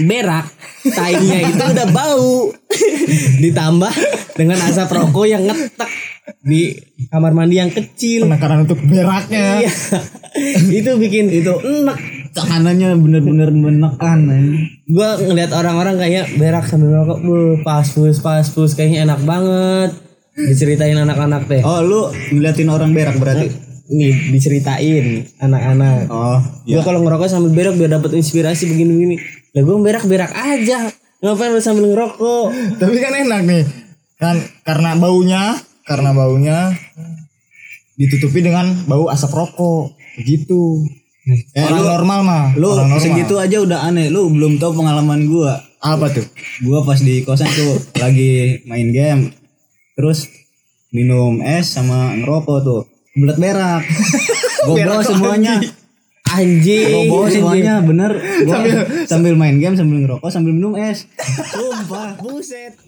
berak taingnya itu udah bau ditambah dengan asap rokok yang ngetek di kamar mandi yang kecil penekanan untuk beraknya Iya. itu bikin itu enak tekanannya bener-bener menekan eh. gue ngeliat orang-orang kayak berak sambil merokok Wuh, pas pus pas pus kayaknya enak banget diceritain anak-anak teh oh lu ngeliatin orang berak berarti nih diceritain anak-anak oh Gua kalau ngerokok sambil berak biar dapat inspirasi begini-begini lah gue berak berak aja ngapain lu sambil ngerokok tapi kan enak nih kan karena baunya karena baunya ditutupi dengan bau asap rokok gitu Eh, orang normal mah Lu orang normal. segitu aja udah aneh. Lu belum tahu pengalaman gua. apa tuh Gua pas di kosan tuh lagi main game. Terus minum es sama ngerokok tuh. Bulat berak. Goblok semuanya. anjing Goblok semuanya bener. Gua Iya. Sambil- sambil main game, sambil ngerokok, sambil minum es. Sumpah, buset.